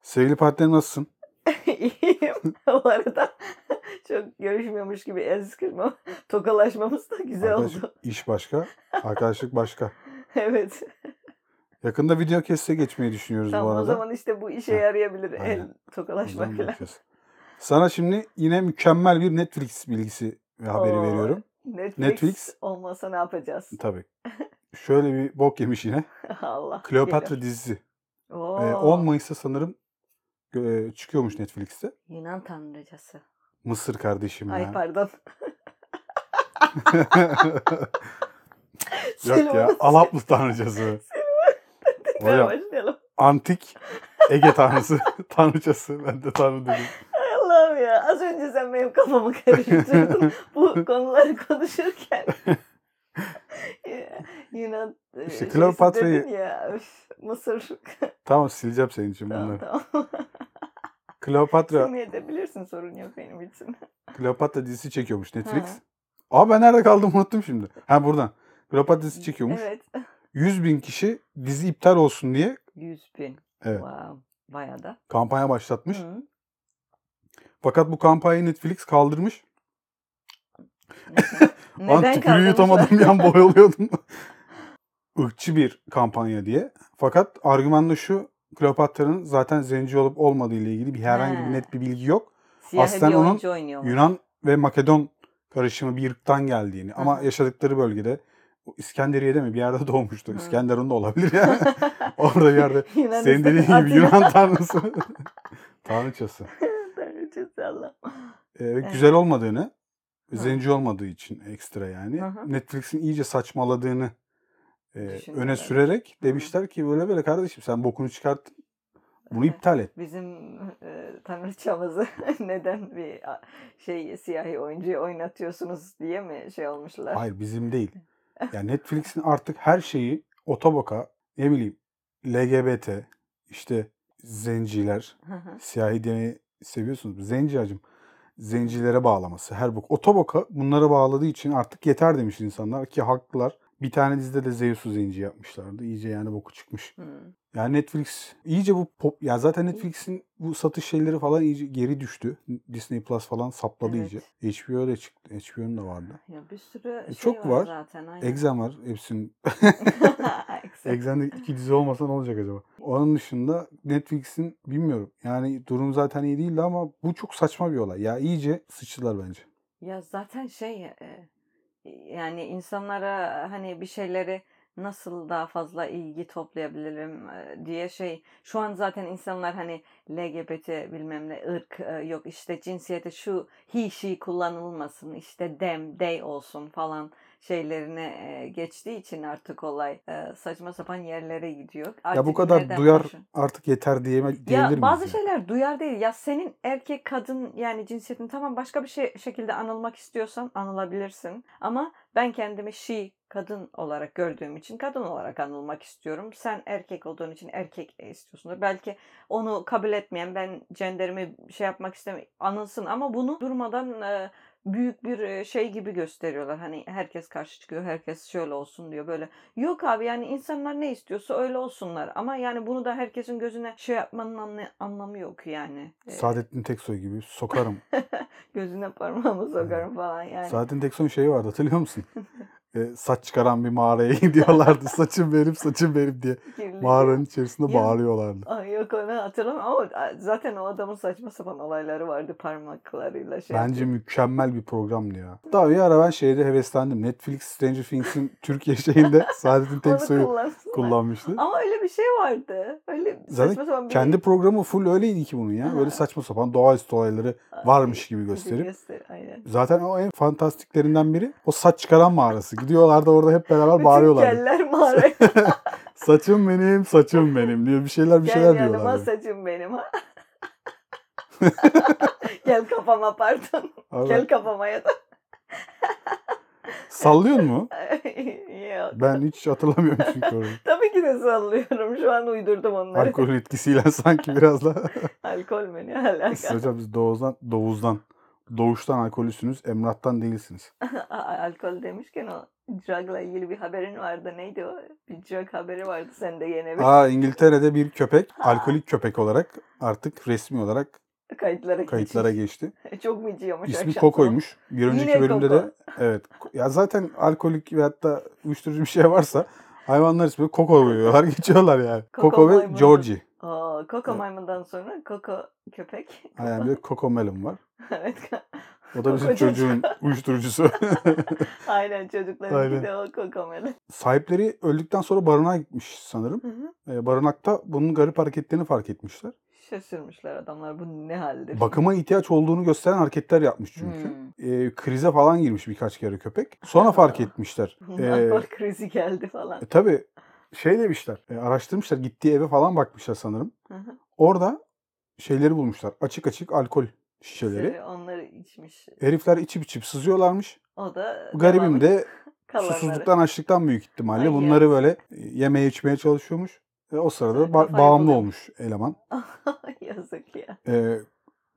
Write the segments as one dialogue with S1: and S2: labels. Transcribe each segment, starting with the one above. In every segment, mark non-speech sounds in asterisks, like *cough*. S1: Sevgili partner nasılsın?
S2: İyiyim. *laughs* Bu arada çok görüşmüyormuş gibi el sıkışma, tokalaşmamız da güzel
S1: Arkadaşlık-
S2: oldu. *laughs*
S1: İş başka, arkadaşlık başka.
S2: Evet.
S1: Yakında video kesse geçmeyi düşünüyoruz bu
S2: Tamam
S1: arada.
S2: o zaman işte bu işe
S1: Heh,
S2: yarayabilir el
S1: aynen. O
S2: tokalaşma
S1: zaman
S2: falan.
S1: bakacağız. Sana şimdi yine mükemmel bir Netflix bilgisi ve haberi
S2: Oo.
S1: veriyorum.
S2: Netflix,
S1: Netflix.
S2: olmasa ne yapacağız? *laughs*
S1: Tabii. Şöyle bir bok yemiş yine.
S2: Allah.
S1: Kleopatra dizisi.
S2: bilir.
S1: Ee,
S2: Oo,
S1: 10 Mayıs'ta sanırım e, çıkıyormuş Netflix'te.
S2: Yunan tanrıcası.
S1: Mısır kardeşim
S2: Ay
S1: ya.
S2: pardon.
S1: *laughs*
S2: *laughs* Şey
S1: Yok ya. Alaplı tanrıcası.
S2: Hocam.
S1: Hocam.
S2: Başlayalım.
S1: Antik Ege tanrısı. *laughs* tanrıcası. Ben de tanrı dedim.
S2: Ay Allah'ım ya. Az önce sen
S1: *laughs*
S2: benim kafamı karıştırdın. bu konuları konuşurken. *laughs* Yunan e,
S1: İşte
S2: şeysi
S1: Kleopatra'yı-
S2: dedin ya. Üf, Mısır.
S1: Tamam sileceğim senin için
S2: tamam
S1: bunları.
S2: tamam. *laughs*
S1: Kleopatra,
S2: Sen edebilirsin sorun yok benim için.
S1: Kleopatra dizisi çekiyormuş Netflix.
S2: Ha.
S1: Aa ben nerede kaldım *laughs* unuttum şimdi. Ha buradan. Kleopatra dizisi çekiyormuş.
S2: Evet.
S1: 100 bin kişi dizi iptal olsun diye
S2: 100 bin.
S1: Evet.
S2: Wow. Bayağı da.
S1: kampanya başlatmış.
S2: Hı.
S1: Fakat bu kampanyayı Netflix kaldırmış. *laughs* Lan tükürüğü
S2: kaldırmışlar?
S1: yutamadım bir an boyalıyordum. Irkçı bir kampanya diye. Fakat argüman da şu. Kleopatra'nın zaten zenci olup olmadığı ile ilgili bir herhangi
S2: Ha.
S1: bir net bir bilgi yok.
S2: *laughs* Siyah
S1: Aslen
S2: bir
S1: onun
S2: oyuncu oynuyor.
S1: Yunan ve Makedon karışımı bir ırktan geldiğini ama
S2: Hı.
S1: yaşadıkları bölgede İskenderiye'de mi bir yerde doğmuştu.
S2: Hı.
S1: İskenderun'da olabilir
S2: *laughs*
S1: yani. *laughs* Orada bir yerde. Senin dediğin
S2: Yunanistan'ın
S1: gibi Yunan tanrısı. *laughs* Tanrıçası.
S2: *laughs* Tanrıçası Allah.
S1: Ee,
S2: Evet.
S1: Güzel olmadığını,
S2: Hı.
S1: zenci olmadığı için ekstra yani.
S2: Hı hı.
S1: Netflix'in iyice saçmaladığını e,
S2: Düşünüyorlar.
S1: öne sürerek
S2: Hı hı.
S1: demişler ki böyle böyle kardeşim sen bokunu çıkart. Bunu
S2: Evet.
S1: iptal et.
S2: Bizim e, tanrıçamızı *laughs* neden bir a- şey siyahi oyuncuyu oynatıyorsunuz diye mi şey olmuşlar? *laughs*
S1: Hayır bizim değil. Yani Netflix'in artık her şeyi otoboka ne bileyim LGBT işte zenciler
S2: Hı hı.
S1: siyahi demeyi seviyorsunuz. Zenci acım. Zencilere bağlaması. Her bok. Otoboka bunlara bağladığı için artık yeter demiş insanlar ki haklılar. Bir tane dizide de Zeus'u zenci yapmışlardı. İyice yani boku çıkmış.
S2: Hı.
S1: Yani Netflix iyice bu pop... Ya zaten Netflix'in bu satış şeyleri falan iyice geri düştü. Disney Plus falan sapladı
S2: Evet.
S1: iyice. HBO da çıktı. HBO'nun da vardı.
S2: Ya bir sürü şey
S1: E, çok
S2: var
S1: var.
S2: zaten. Aynen. *laughs*
S1: Exxen var hepsinin.
S2: Exxen.
S1: Exxen'de iki dizi olmasa ne olacak acaba? Onun dışında Netflix'in bilmiyorum. Yani durum zaten iyi değildi ama bu çok saçma bir olay. Ya iyice sıçtılar bence.
S2: Ya zaten şey e, yani insanlara hani bir şeyleri nasıl daha fazla ilgi toplayabilirim e, diye şey şu an zaten insanlar hani LGBT bilmem ne ırk e, yok işte cinsiyete şu he she kullanılmasın işte dem they olsun falan şeylerine e, geçtiği için artık olay e, saçma sapan yerlere gidiyor.
S1: ya bu
S2: Artık
S1: kadar
S2: nereden
S1: duyar
S2: başla-
S1: artık yeter diyeme, diyebilir
S2: ya
S1: miyiz?
S2: bazı şey-
S1: yani?
S2: şeyler duyar değil. Ya senin erkek kadın yani cinsiyetin tamam başka bir şey şekilde anılmak istiyorsan anılabilirsin. Ama ben kendimi she kadın olarak gördüğüm için kadın olarak anılmak istiyorum. Sen erkek olduğun için erkek e, istiyorsundur. Belki onu kabul etmeyen ben cenderimi şey yapmak istemiyorum anılsın ama bunu durmadan e, büyük bir e, şey gibi gösteriyorlar. Hani herkes karşı çıkıyor, herkes şöyle olsun diyor böyle. Yok abi yani insanlar ne istiyorsa öyle olsunlar. Ama yani bunu da herkesin gözüne şey yapmanın anla- anlamı yok yani. E,
S1: Saadettin Teksoy gibi
S2: *laughs*
S1: sokarım.
S2: gözüne parmağımı sokarım falan yani.
S1: Saadettin Teksoy'un şeyi vardı hatırlıyor
S2: *laughs*
S1: musun? Ee, saç çıkaran bir mağaraya *laughs* gidiyorlardı. saçım benim, saçım benim diye.
S2: Kirli.
S1: Mağaranın içerisinde
S2: Ya.
S1: bağırıyorlardı.
S2: Ay yok onu hatırlamıyorum ama zaten o adamın saçma sapan olayları vardı parmaklarıyla şey.
S1: Bence mükemmel bir programdı ya. Daha bir ara ben şeyde heveslendim. Netflix Stranger Things'in Türkiye şeyinde Saadettin
S2: *laughs* Onu
S1: Teksoy'u
S2: kullansınlar.
S1: kullanmıştı.
S2: Ama öyle bir şey vardı. Öyle
S1: Zaten
S2: saçma sapan bir
S1: Kendi programı full öyleydi ki bunun ya.
S2: Aha.
S1: Böyle saçma sapan doğaüstü olayları varmış gibi
S2: gösterir.
S1: gösterip.
S2: aynen.
S1: Zaten o en fantastiklerinden biri o saç çıkaran mağarası. Gidiyorlardı orada hep beraber *laughs*
S2: Bütün
S1: bağırıyorlardı.
S2: keller mağaraya
S1: saçım benim, saçım benim diye bir şeyler bir
S2: Gel
S1: şeyler
S2: yanıma
S1: diyorlardı.
S2: saçım benim
S1: *laughs*
S2: ha. *laughs* Gel kafama pardon.
S1: Abi,
S2: Gel kafama ya da. *laughs*
S1: Sallıyor mu?
S2: Yok.
S1: Ben hiç hatırlamıyorum çünkü
S2: *laughs*
S1: orayı.
S2: Tabii ki de sallıyorum. Şu an uydurdum onları. *laughs*
S1: *laughs*
S2: Alkol, Oh
S1: Alkolün etkisiyle sanki biraz daha.
S2: mi ne alaka?
S1: Hocam biz Doğuz'dan, Doğuz'dan Doğuştan alkolüsünüz, emrattan değilsiniz.
S2: *laughs* A- Alkol demişken o drugla ilgili bir haberin vardı. Neydi o? Bir drug haberi vardı sende yine bir
S1: Aa İngiltere'de bir köpek,
S2: Ha.
S1: alkolik köpek olarak artık resmi olarak
S2: kayıtlara
S1: kayıtlara
S2: geçmiş.
S1: geçti.
S2: *laughs* Çok mu içiyormuş
S1: İsmi
S2: akşam
S1: Koko'ymuş. Bir önceki
S2: Yine
S1: bölümde
S2: Koko.
S1: de evet. Ya zaten alkolik ve hatta uyuşturucu bir şey varsa hayvanlar ismi Koko koyuyorlar, *laughs* geçiyorlar yani.
S2: Koko
S1: Koko, ve
S2: maymunu.
S1: Georgie.
S2: sabah? Aa, Koko
S1: Evet.
S2: maymundan sonra Koko köpek.
S1: Yani bir de Koko Melon var.
S2: *laughs* evet.
S1: O da bizim
S2: Koko çocuk. *laughs*
S1: çocuğun uyuşturucusu. *laughs*
S2: Aynen
S1: Aynen.
S2: çocukların de o kokomeli.
S1: Sahipleri öldükten sonra barınağa gitmiş sanırım.
S2: Hı hı.
S1: Ee, barınakta bunun garip hareketlerini fark etmişler.
S2: Şaşırmışlar adamlar bu ne haldir?
S1: Bakıma ihtiyaç olduğunu gösteren hareketler yapmış çünkü.
S2: Hmm.
S1: Ee, krize falan girmiş birkaç kere köpek. Sonra fark etmişler.
S2: Bundan
S1: Ee,
S2: bak krizi geldi falan.
S1: e, tabii şey demişler, e, araştırmışlar. Gittiği eve falan bakmışlar sanırım.
S2: Hı hı.
S1: Orada şeyleri bulmuşlar. Açık açık alkol şişeleri.
S2: Seni Onları içmiş.
S1: Herifler içip içip sızıyorlarmış.
S2: O da
S1: Garibim
S2: devamı-
S1: de
S2: kalanları.
S1: susuzluktan açlıktan büyük ihtimalle
S2: Ay
S1: bunları böyle e, yemeye içmeye çalışıyormuş. Ve o sırada
S2: Sonra
S1: ba-
S2: kafayı
S1: bağımlı
S2: buluyormuş.
S1: olmuş eleman.
S2: *laughs* Yazık ya.
S1: Ee,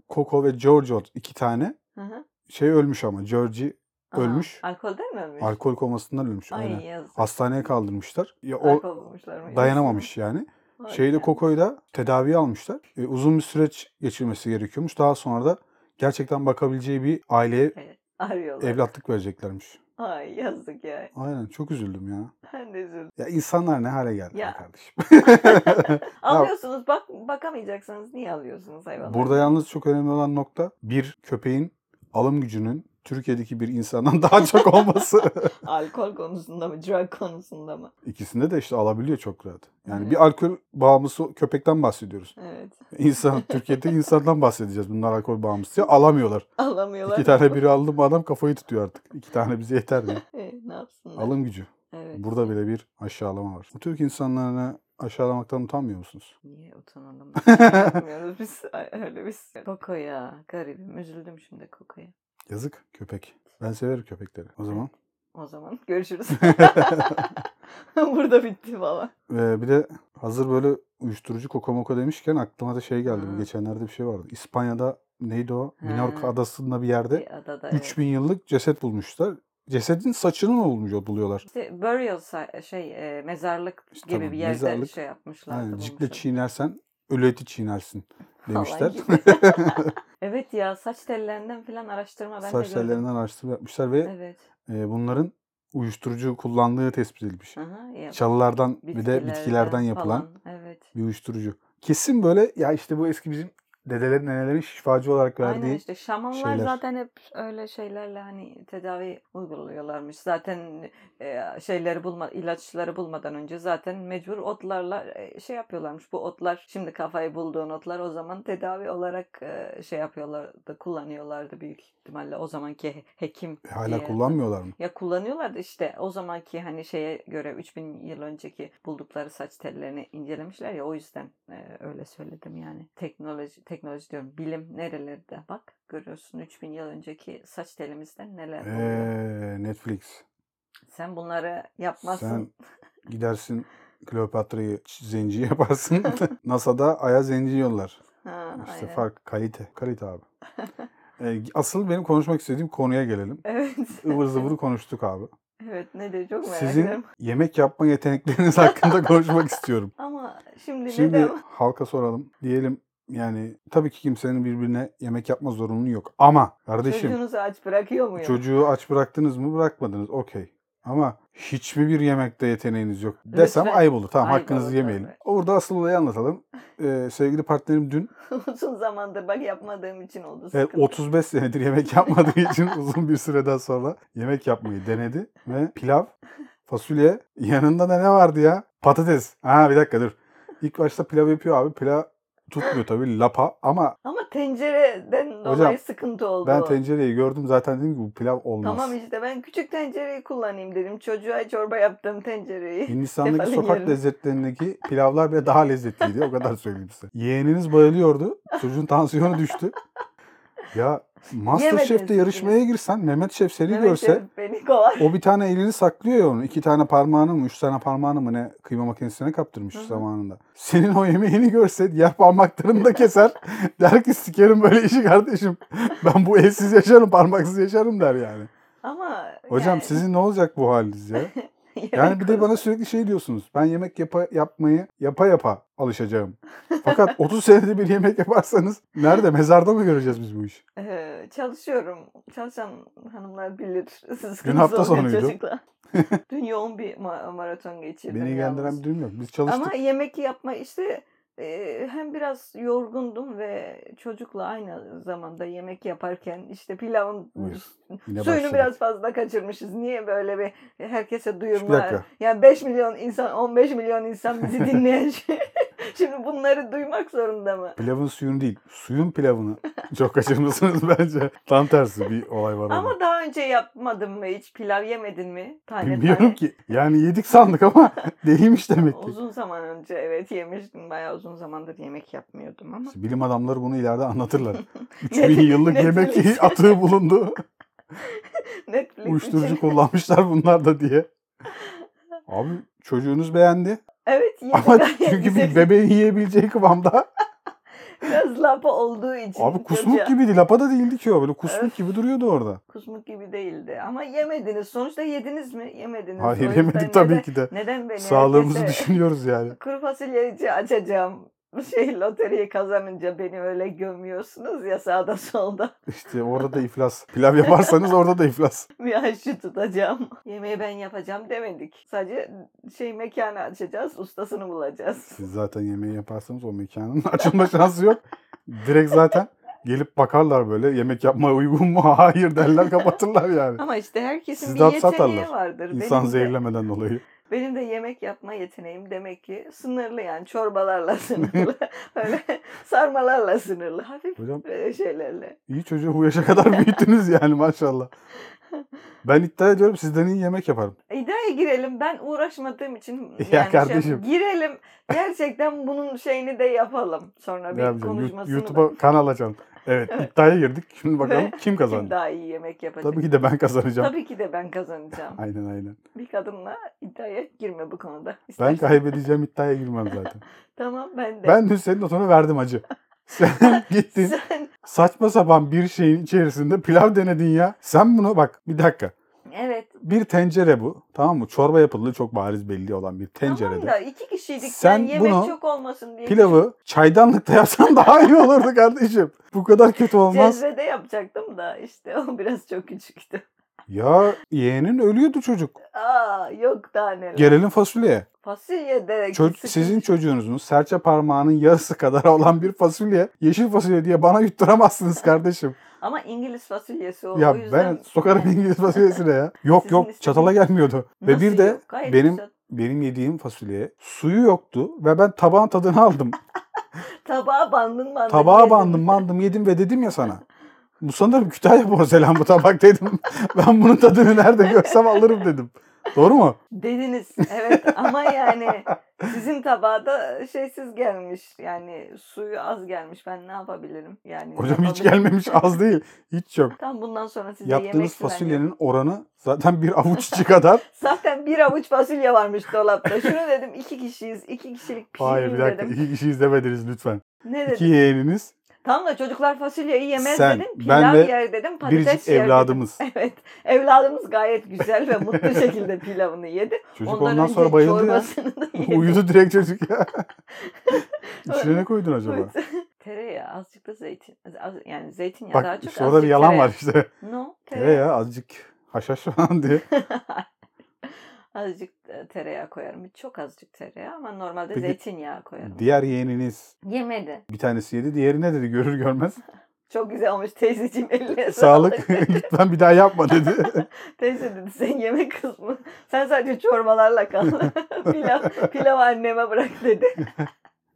S1: Coco ve Giorgio iki tane
S2: Hı hı.
S1: şey ölmüş ama Georgie
S2: Aha,
S1: Ölmüş.
S2: Alkolden mi ölmüş?
S1: Alkol komasından ölmüş.
S2: Ay
S1: aynen.
S2: yazık.
S1: Hastaneye kaldırmışlar. Ya o
S2: Alkol bulmuşlar mı?
S1: dayanamamış yani.
S2: Vay
S1: Şeyde
S2: canına.
S1: Koko'yu da tedaviye almışlar. E, uzun bir süreç geçirmesi gerekiyormuş. Daha sonra da gerçekten bakabileceği bir aileye
S2: Arıyorlar.
S1: evlatlık vereceklermiş.
S2: Ay yazık ya.
S1: Aynen çok üzüldüm ya.
S2: Ben de üzüldüm.
S1: Ya insanlar ne hale geldi
S2: Ya.
S1: be kardeşim. *laughs*
S2: Alıyorsunuz bak bakamayacaksınız. Niye alıyorsunuz hayvanları?
S1: Burada yalnız çok önemli olan nokta bir köpeğin alım gücünün Türkiye'deki bir insandan *laughs* daha çok
S2: *laughs*
S1: olması.
S2: Alkol konusunda mı? Drug konusunda mı?
S1: İkisinde de işte alabiliyor çok rahat. Yani
S2: Evet.
S1: bir alkol bağımlısı köpekten bahsediyoruz.
S2: Evet. *laughs*
S1: İnsan, Türkiye'de insandan bahsedeceğiz. Bunlar alkol bağımlısı. Ya Alamıyorlar.
S2: Alamıyorlar.
S1: İki tane biri aldı mı adam kafayı tutuyor artık. İki tane bize yeter diye.
S2: E, ne yapsınlar?
S1: Alım gücü.
S2: Evet.
S1: Burada bile bir aşağılama var. Bu Türk insanlarını aşağılamaktan utanmıyor
S2: *laughs*
S1: musunuz?
S2: Niye utanalım? Yapmıyoruz biz Ay, öyle biz. Koko ya. Garibim. Üzüldüm şimdi Koko'ya.
S1: Yazık köpek. Ben severim köpekleri. O zaman.
S2: O zaman
S1: *laughs*
S2: görüşürüz. Burada bitti valla.
S1: Ee, bir de hazır böyle uyuşturucu kokomoko demişken aklıma da şey geldi. Bu
S2: Hı.
S1: geçenlerde bir şey vardı. İspanya'da neydi o?
S2: Ha.
S1: Minorca adasında bir yerde
S2: Bir adada. evet.
S1: 3000 yıllık ceset bulmuşlar. Cesedin saçını olmuyor buluyorlar.
S2: İşte burial sa- şey e, mezarlık
S1: İşte
S2: gibi
S1: tamam,
S2: bir yerde
S1: mezarlık.
S2: şey yapmışlardı.
S1: Aynen, cikle
S2: bulmuşlar.
S1: çiğnersen ölü eti çiğnersin
S2: *laughs* Falan
S1: demişler.
S2: gibi.
S1: *laughs*
S2: evet ya saç tellerinden falan araştırma ben
S1: Saç
S2: de gördüm.
S1: tellerinden araştırma yapmışlar ve
S2: Evet.
S1: e, bunların uyuşturucu kullandığı tespit edilmiş.
S2: Aha, ya,
S1: Çalılardan bir de bitkilerden yapılan
S2: falan, Evet.
S1: bir uyuşturucu. Kesin böyle ya işte bu eski bizim dedelerin nenelerin şifacı olarak verdiği
S2: Aynen işte şamanlar
S1: şeyler.
S2: zaten hep öyle şeylerle hani tedavi uyguluyorlarmış. Zaten e, şeyleri bulma ilaçları bulmadan önce zaten mecbur otlarla e, şey yapıyorlarmış. Bu otlar şimdi kafayı bulduğun otlar o zaman tedavi olarak e, şey yapıyorlardı, kullanıyorlardı büyük ihtimalle o zamanki he- hekim
S1: E, hala
S2: diye.
S1: kullanmıyorlar mı?
S2: Ya kullanıyorlardı işte o zamanki hani şeye göre 3000 yıl önceki buldukları saç tellerini incelemişler ya o yüzden e, öyle söyledim yani. Teknoloji teknoloji diyorum bilim nerelerde bak görüyorsun 3000 yıl önceki saç telimizden neler e, oluyor.
S1: Eee Netflix.
S2: Sen bunları yapmazsın.
S1: Sen gidersin Kleopatra'yı ç- zenci *laughs*
S2: *laughs*
S1: yaparsın. NASA'da Ay'a zenci yollar.
S2: Ha,
S1: İşte
S2: aynen.
S1: fark kalite. Kalite abi. E, asıl benim konuşmak istediğim konuya gelelim.
S2: *laughs* Evet.
S1: ıvır zıvır konuştuk abi.
S2: evet ne de çok merak
S1: Sizin
S2: ediyorum.
S1: yemek yapma yetenekleriniz
S2: *laughs*
S1: hakkında konuşmak istiyorum.
S2: Ama şimdi,
S1: Şimdi
S2: *laughs* neden?
S1: halka soralım. Diyelim yani tabii ki kimsenin birbirine yemek yapma zorunluluğu yok. Ama kardeşim
S2: Çocuğunuzu aç bırakıyor muyum?
S1: çocuğu aç bıraktınız mı bırakmadınız okey. Ama hiçbir bir yemekte yeteneğiniz yok desem
S2: Lütfen.
S1: ayıp olur. Tamam
S2: Ayıp
S1: hakkınızı
S2: olur
S1: yemeyelim.
S2: tabii.
S1: Orada asıl olayı anlatalım. Ee, sevgili partnerim dün
S2: *laughs* Uzun zamandır bak yapmadığım için oldu.
S1: Evet,
S2: sıkıntı.
S1: 35 Ee, senedir
S2: *laughs*
S1: yemek yapmadığı için uzun bir süreden sonra yemek yapmayı denedi ve pilav, fasulye, yanında da ne vardı ya? Patates. Ha bir dakika dur. İlk başta pilav yapıyor abi. Pilav tutmuyor tabii lapa ama
S2: Ama tencereden dolayı
S1: Hocam,
S2: sıkıntı oldu.
S1: ben
S2: o.
S1: tencereyi gördüm zaten dedim ki bu pilav olmaz.
S2: Tamam işte ben küçük tencereyi kullanayım dedim. Çocuğa çorba yaptığım tencereyi.
S1: Hindistan'daki
S2: Sefalin
S1: sokak
S2: yerine.
S1: lezzetlerindeki pilavlar bile daha lezzetliydi. O kadar söyleyeyim size. Yeğeniniz bayılıyordu. Çocuğun tansiyonu düştü. Ya Masterchef'te
S2: Yemediniz
S1: yarışmaya girsen Mehmet Şef seni
S2: *laughs* Mehmet
S1: görse
S2: Şef beni kovar.
S1: o bir tane elini saklıyor ya onun. iki tane parmağını mı üç tane parmağını mı ne kıyma makinesine kaptırmış
S2: Hı hı.
S1: zamanında. Senin o yemeğini görse diğer parmaklarını da
S2: *laughs*
S1: keser. der ki sikerim böyle işi kardeşim. Ben bu elsiz yaşarım parmaksız yaşarım der yani.
S2: Ama
S1: Hocam
S2: yani- *laughs*
S1: sizin ne olacak bu haliniz ya? Yani bir de bana sürekli şey diyorsunuz. Ben yemek yapa, yapmayı yapa yapa alışacağım. Fakat 30 senede bir yemek yaparsanız nerede mezarda mı göreceğiz biz bu işi?
S2: Ee, çalışıyorum. Çalışan hanımlar bilir. *laughs* Siz
S1: Dün hafta
S2: kızınız olmayan
S1: sonuydu. *laughs*
S2: çocuklar. Dün yoğun bir ma- maraton geçirdim.
S1: Beni
S2: yalnız.
S1: ilgilendiren bir durum yok. Biz çalıştık.
S2: Ama yemek yapma işte e, hem biraz yorgundum ve çocukla aynı zamanda yemek yaparken işte pilavın
S1: Buyur. Yine
S2: suyunu
S1: başladık.
S2: biraz fazla kaçırmışız. Niye böyle bir herkese
S1: Bir
S2: duyurma?
S1: dakika.
S2: Yani 5 milyon insan, 15 milyon insan bizi
S1: *laughs*
S2: dinleyen şey. *laughs* Şimdi bunları duymak zorunda mı?
S1: Pilavın suyunu değil, suyun pilavını çok kaçırmışsınız *laughs* bence. Tam tersi bir olay var. orada.
S2: Ama daha önce yapmadın mı hiç? Pilav yemedin mi? Tane
S1: Bilmiyorum
S2: tane.
S1: ki. Yani yedik sandık ama *laughs* değilmiş demek ki.
S2: Uzun zaman önce evet yemiştim. Bayağı uzun zamandır yemek
S1: *laughs*
S2: yapmıyordum ama.
S1: İşte bilim adamları bunu ileride anlatırlar. 3000 yıllık yemek *laughs*
S2: Netflix.
S1: atığı bulundu.
S2: Netflix
S1: Uyuşturucu
S2: için.
S1: kullanmışlar bunlar da diye. Abi çocuğunuz beğendi.
S2: Evet yedi
S1: Ama
S2: gayet
S1: çünkü
S2: güzel.
S1: bir bebeğin yiyebileceği kıvamda.
S2: Biraz lapa olduğu için.
S1: Abi
S2: çocuğa-
S1: kusmuk gibiydi. Lapa da değildi ki o. Böyle kusmuk
S2: Evet.
S1: gibi duruyordu orada.
S2: Kusmuk gibi değildi ama yemediniz. Sonuçta yediniz mi? Yemediniz. O
S1: Hayır
S2: yüzden
S1: yemedik tabii
S2: neden,
S1: ki de.
S2: Neden beni
S1: Sağlığımızı
S2: herkese-
S1: düşünüyoruz yani.
S2: Kuru fasulyeci açacağım. Şey loteriyi kazanınca beni öyle gömüyorsunuz ya sağda *laughs* solda.
S1: İşte orada da iflas. Pilav yaparsanız orada da iflas.
S2: Bir aşçı tutacağım. Yemeği ben yapacağım demedik. Sadece şey mekanı açacağız, ustasını bulacağız.
S1: Siz zaten yemeği yaparsanız o mekanın *laughs* açılma şansı yok. Direkt zaten gelip bakarlar böyle yemek yapmaya uygun mu? *laughs* Hayır derler kapatırlar yani.
S2: Ama işte herkesin
S1: Siz de
S2: bir
S1: hapse
S2: yeteneği
S1: atarlar.
S2: vardır.
S1: İnsan
S2: benim, de,
S1: zehirlemeden dolayı.
S2: benim de yemek yapma yeteneğim demek ki sınırlı yani
S1: *laughs*
S2: çorbalarla *laughs* sınırlı. Öyle sarmalarla sınırlı. Hafif
S1: Hocam
S2: e, şeylerle.
S1: iyi çocuğu bu yaşa kadar büyüttünüz yani maşallah. Ben iddia ediyorum sizden iyi yemek yaparım.
S2: İddiaya girelim. Ben uğraşmadığım için
S1: *laughs* Ya
S2: yani şey-
S1: kardeşim.
S2: girelim. Gerçekten bunun şeyini de yapalım. Sonra
S1: Ne
S2: bir
S1: yapacağım? Yut-
S2: konuşmasını da-
S1: YouTube'a kanal açalım. Evet iddiaya girdik. Şimdi
S2: *laughs*
S1: bakalım kim
S2: kim
S1: kazandı.
S2: daha iyi yemek yapacak.
S1: Tabii ki de ben
S2: *laughs*
S1: kazanacağım.
S2: Tabii ki de
S1: *laughs*
S2: ben kazanacağım.
S1: Aynen aynen.
S2: Bir kadınla iddiaya girme bu konuda.
S1: Ben
S2: İstersen-
S1: kaybedeceğim iddiaya girmem zaten.
S2: Tamam ben de.
S1: Ben dün senin notunu verdim acı. Sen gittin
S2: *laughs* Sen,
S1: saçma sapan bir şeyin içerisinde pilav denedin ya. Sen bunu bak bir dakika.
S2: evet.
S1: Bir tencere bu tamam mı? Çorba yapıldığı çok bariz belli olan bir
S2: Tamam
S1: tencerede.
S2: da iki kişiydik.
S1: Sen
S2: Sen yemek
S1: bunu,
S2: çok olmasın diye.
S1: Pilavı çaydanlıkta yapsan *laughs* daha iyi olurdu kardeşim. Bu kadar kötü olmaz.
S2: Cezvede yapacaktım da işte o biraz çok küçüktü.
S1: Ya yeğenin ölüyordu çocuk.
S2: Aa yok daha neler.
S1: Gelelim fasulyeye.
S2: Fasulye de
S1: Ço-
S2: sıkıntı-
S1: sizin çocuğunuzun serçe parmağının yarısı kadar olan bir fasulye, yeşil fasulye diye bana yutturamazsınız kardeşim.
S2: Ama İngiliz fasulyesi o. o
S1: ya
S2: yüzden...
S1: ben
S2: *laughs*
S1: sokarım İngiliz fasulyesine ya. Yok
S2: Sizin
S1: yok çatala gelmiyordu. Ve
S2: Nasıl
S1: bir de
S2: yok? Gayet
S1: benim
S2: güzel.
S1: benim yediğim fasulye suyu yoktu ve ben tabağın tadını
S2: *laughs*
S1: aldım.
S2: Tabağa bandın bandın.
S1: Tabağa
S2: yedin.
S1: bandım bandım yedim ve dedim ya sana. Bu sanırım Kütahya porselen bu tabak dedim. *laughs* ben bunun tadını nerede görsem alırım dedim. Doğru
S2: *laughs*
S1: mu?
S2: Dediniz
S1: *laughs*
S2: evet ama yani sizin tabağda şeysiz gelmiş yani suyu az gelmiş ben ne yapabilirim yani.
S1: Hocam hiç
S2: yapabilirim.
S1: gelmemiş az değil. Hiç yok.
S2: Tam bundan sonra size yemek
S1: Yaptığınız
S2: fasulyenin...
S1: fasulyenin oranı zaten bir avuç içi
S2: *laughs*
S1: kadar.
S2: Zaten bir avuç fasulye varmış dolapta. Şunu dedim iki kişiyiz iki kişilik
S1: Hayır bir
S2: pişireyim
S1: dakika
S2: dedim.
S1: iki kişi izlemediniz lütfen.
S2: Ne
S1: İki
S2: dedim?
S1: yeğeniniz
S2: Tam da çocuklar fasulyeyi yemez
S1: Sen,
S2: dedim.
S1: ben
S2: Pilav
S1: ve
S2: yer dedim. Patates
S1: biricik
S2: yer
S1: evladımız.
S2: dedim. *laughs* Evet. Evladımız gayet güzel ve mutlu şekilde pilavını yedi.
S1: Çocuk ondan, sonra
S2: önce
S1: bayıldı *laughs* ya.
S2: çorbasını da yedi.
S1: Uyudu direkt çocuk
S2: *laughs*
S1: ya. İçine ne koydun acaba?
S2: Evet. *laughs* tereyağı azıcık da zeytin. Az, yani zeytinyağı daha
S1: Bak
S2: çok
S1: işte orada bir
S2: azıcık
S1: yalan
S2: tereyağı.
S1: var
S2: *laughs*
S1: işte.
S2: No tereyağı.
S1: Tereyağı azıcık haşhaş falan
S2: *laughs*
S1: diye.
S2: azıcık e, tereyağı koyarım. Çok azıcık tereyağı ama normalde
S1: Peki,
S2: zeytinyağı koyarım.
S1: Diğer yeğeniniz
S2: Yemedi.
S1: bir tanesi yedi. Diğeri ne dedi görür
S2: *laughs*
S1: görmez.
S2: Çok güzel olmuş teyzeciğim eline
S1: Sağlık *laughs* lütfen bir daha yapma dedi.
S2: *laughs*
S1: *laughs*
S2: Teyze dedi sen yemek kısmı. Sen sadece çorbalarla kal. *laughs* pilav, pilav anneme bırak dedi.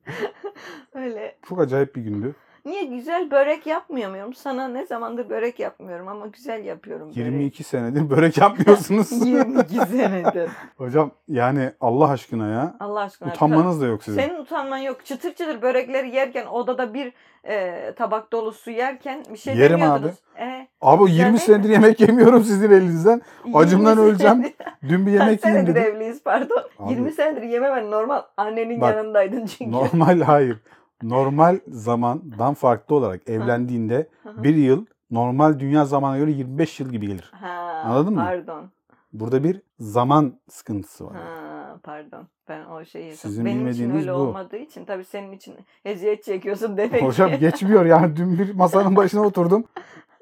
S2: *laughs* Öyle.
S1: Çok acayip bir gündü.
S2: Niye güzel börek yapmıyor muyum? Sana ne zamandır börek yapmıyorum ama güzel yapıyorum. böreği.
S1: 22 senedir börek yapmıyorsunuz. *laughs*
S2: *laughs* 22 senedir.
S1: Hocam yani Allah aşkına ya.
S2: Allah aşkına.
S1: Utanmanız da yok sizin.
S2: Senin utanman yok. Çıtır çıtır börekleri yerken odada bir e, tabak dolusu yerken bir şey
S1: Yerim
S2: demiyordunuz. E,
S1: Abi
S2: Güzel
S1: 20
S2: değil
S1: senedir yemek yemiyorum sizin elinizden. Acımdan
S2: 20
S1: öleceğim.
S2: senedir-
S1: Dün bir
S2: *laughs* Kaç
S1: yemek yiyeyim
S2: senedir
S1: dedim.
S2: evliyiz pardon.
S1: Abi.
S2: 20 senedir yememen normal. Annenin
S1: Bak,
S2: yanındaydın *laughs* çünkü.
S1: Normal hayır. Normal zamandan farklı olarak evlendiğinde bir yıl normal dünya zamana göre 25 yıl gibi gelir.
S2: ha,
S1: Anladın mı?
S2: Pardon.
S1: Burada bir zaman sıkıntısı var.
S2: Ha, pardon. Ben o şeyi
S1: Sizin
S2: Benim için
S1: bilmediğiniz
S2: öyle
S1: bu.
S2: olmadığı için tabii senin için eziyet çekiyorsun demek
S1: Hocam
S2: ki.
S1: geçmiyor yani dün bir masanın başına oturdum.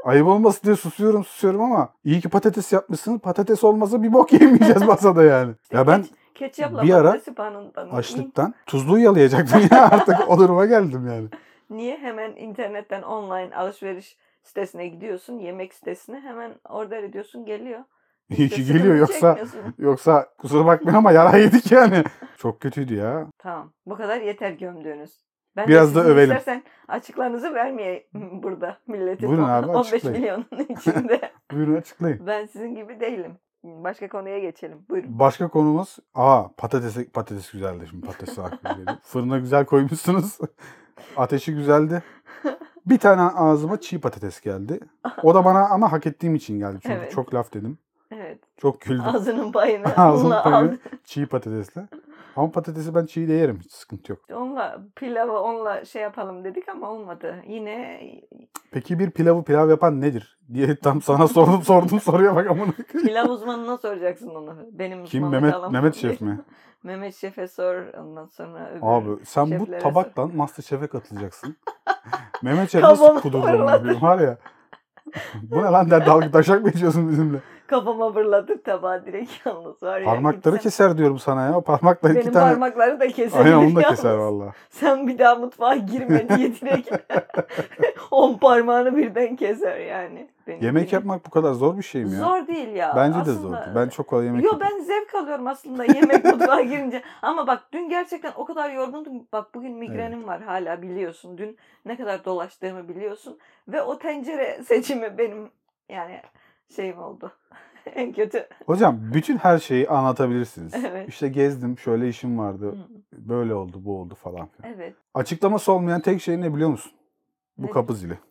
S1: Ayıp olmasın diye susuyorum susuyorum ama iyi ki patates yapmışsınız. Patates olmasa bir bok yemeyeceğiz masada yani. Ya ben
S2: Keç- ketçapla
S1: bir ara
S2: patatesi banından.
S1: açlıktan tuzluğu yalayacaktım ya artık o duruma geldim yani.
S2: Niye hemen internetten online alışveriş sitesine gidiyorsun, yemek sitesine hemen order ediyorsun geliyor.
S1: *laughs* İyi
S2: Hiç de
S1: ki
S2: sıkıntı
S1: geliyor yoksa
S2: çekmiyorsun.
S1: yoksa kusura bakmayın ama yara yedik yani. Çok kötüydü ya.
S2: Tamam bu kadar yeter gömdüğünüz. Ben de
S1: Biraz da
S2: sizin
S1: övelim.
S2: İstersen açıklarınızı vermeyeyim *laughs* burada milletin
S1: Buyurun
S2: o-
S1: abi,
S2: 15
S1: açıklayın.
S2: milyonun
S1: *laughs*
S2: içinde.
S1: Buyurun açıklayın.
S2: ben sizin gibi değilim. Başka konuya geçelim. Buyurun.
S1: Başka konumuz. Aa patates patates güzeldi şimdi patates aklıma geldi. Fırına güzel koymuşsunuz. Ateşi güzeldi. Bir tane ağzıma çiğ patates geldi. O da bana ama hak ettiğim için geldi. Çünkü
S2: Evet.
S1: çok laf dedim.
S2: Evet.
S1: Çok güldüm. *laughs*
S2: Ağzının payını
S1: Ağzım
S2: onunla
S1: payını
S2: aldı.
S1: çiğ patatesle. Ama patatesi ben çiğ de yerim. Hiç sıkıntı yok.
S2: Onunla pilavı onunla şey yapalım dedik ama olmadı. Yine
S1: Peki bir pilavı pilav yapan nedir? Diye tam sana *laughs* sordum sordum soruya bak amına koyayım. *laughs*
S2: pilav uzmanına soracaksın onu. Benim
S1: Kim
S2: uzmanlık
S1: Mehmet
S2: alanım
S1: Mehmet
S2: değil.
S1: Şef mi?
S2: Mehmet Şef'e sor ondan sonra öbür. *laughs*
S1: Abi sen bu
S2: Şeflere
S1: tabaktan MasterChef'e katılacaksın.
S2: *laughs*
S1: Mehmet Şef
S2: Kafamı
S1: nasıl kudurduğunu
S2: fırladı.
S1: yapıyor var ya. *laughs* bu ne lan der dalga taşak mı geçiyorsun bizimle?
S2: Kafama fırladı tabağı direkt *laughs* yalnız var ya.
S1: Parmakları
S2: gitsem-
S1: keser diyorum sana ya. Parmakla
S2: Benim
S1: iki tane.
S2: parmakları da keser.
S1: *laughs* Aynen
S2: *laughs*
S1: onu da
S2: yalnız.
S1: keser valla.
S2: Sen bir daha mutfağa girme diye direkt *laughs* on parmağını birden keser yani. Benim-
S1: Yemek
S2: benim-
S1: yapmak bu kadar zor bir şey mi ya?
S2: Zor değil ya.
S1: Bence de
S2: aslında.
S1: zor. Ben çok kolay yemek
S2: Yo
S1: yapıyorum.
S2: ben zevk alıyorum aslında yemek mutfağa girince. Ama bak dün gerçekten o kadar yorgundum. ki- Bak bugün migrenim var hala biliyorsun. Dün ne kadar dolaştığımı biliyorsun. Ve o tencere seçimi benim yani şeyim oldu. *laughs* en kötü.
S1: Hocam bütün her şeyi anlatabilirsiniz.
S2: Evet.
S1: İşte gezdim, şöyle işim vardı,
S2: Hı,
S1: böyle oldu, bu oldu falan filan.
S2: Evet.
S1: Açıklaması olmayan tek şey ne biliyor musun? Bu
S2: Nedir?
S1: kapı zili.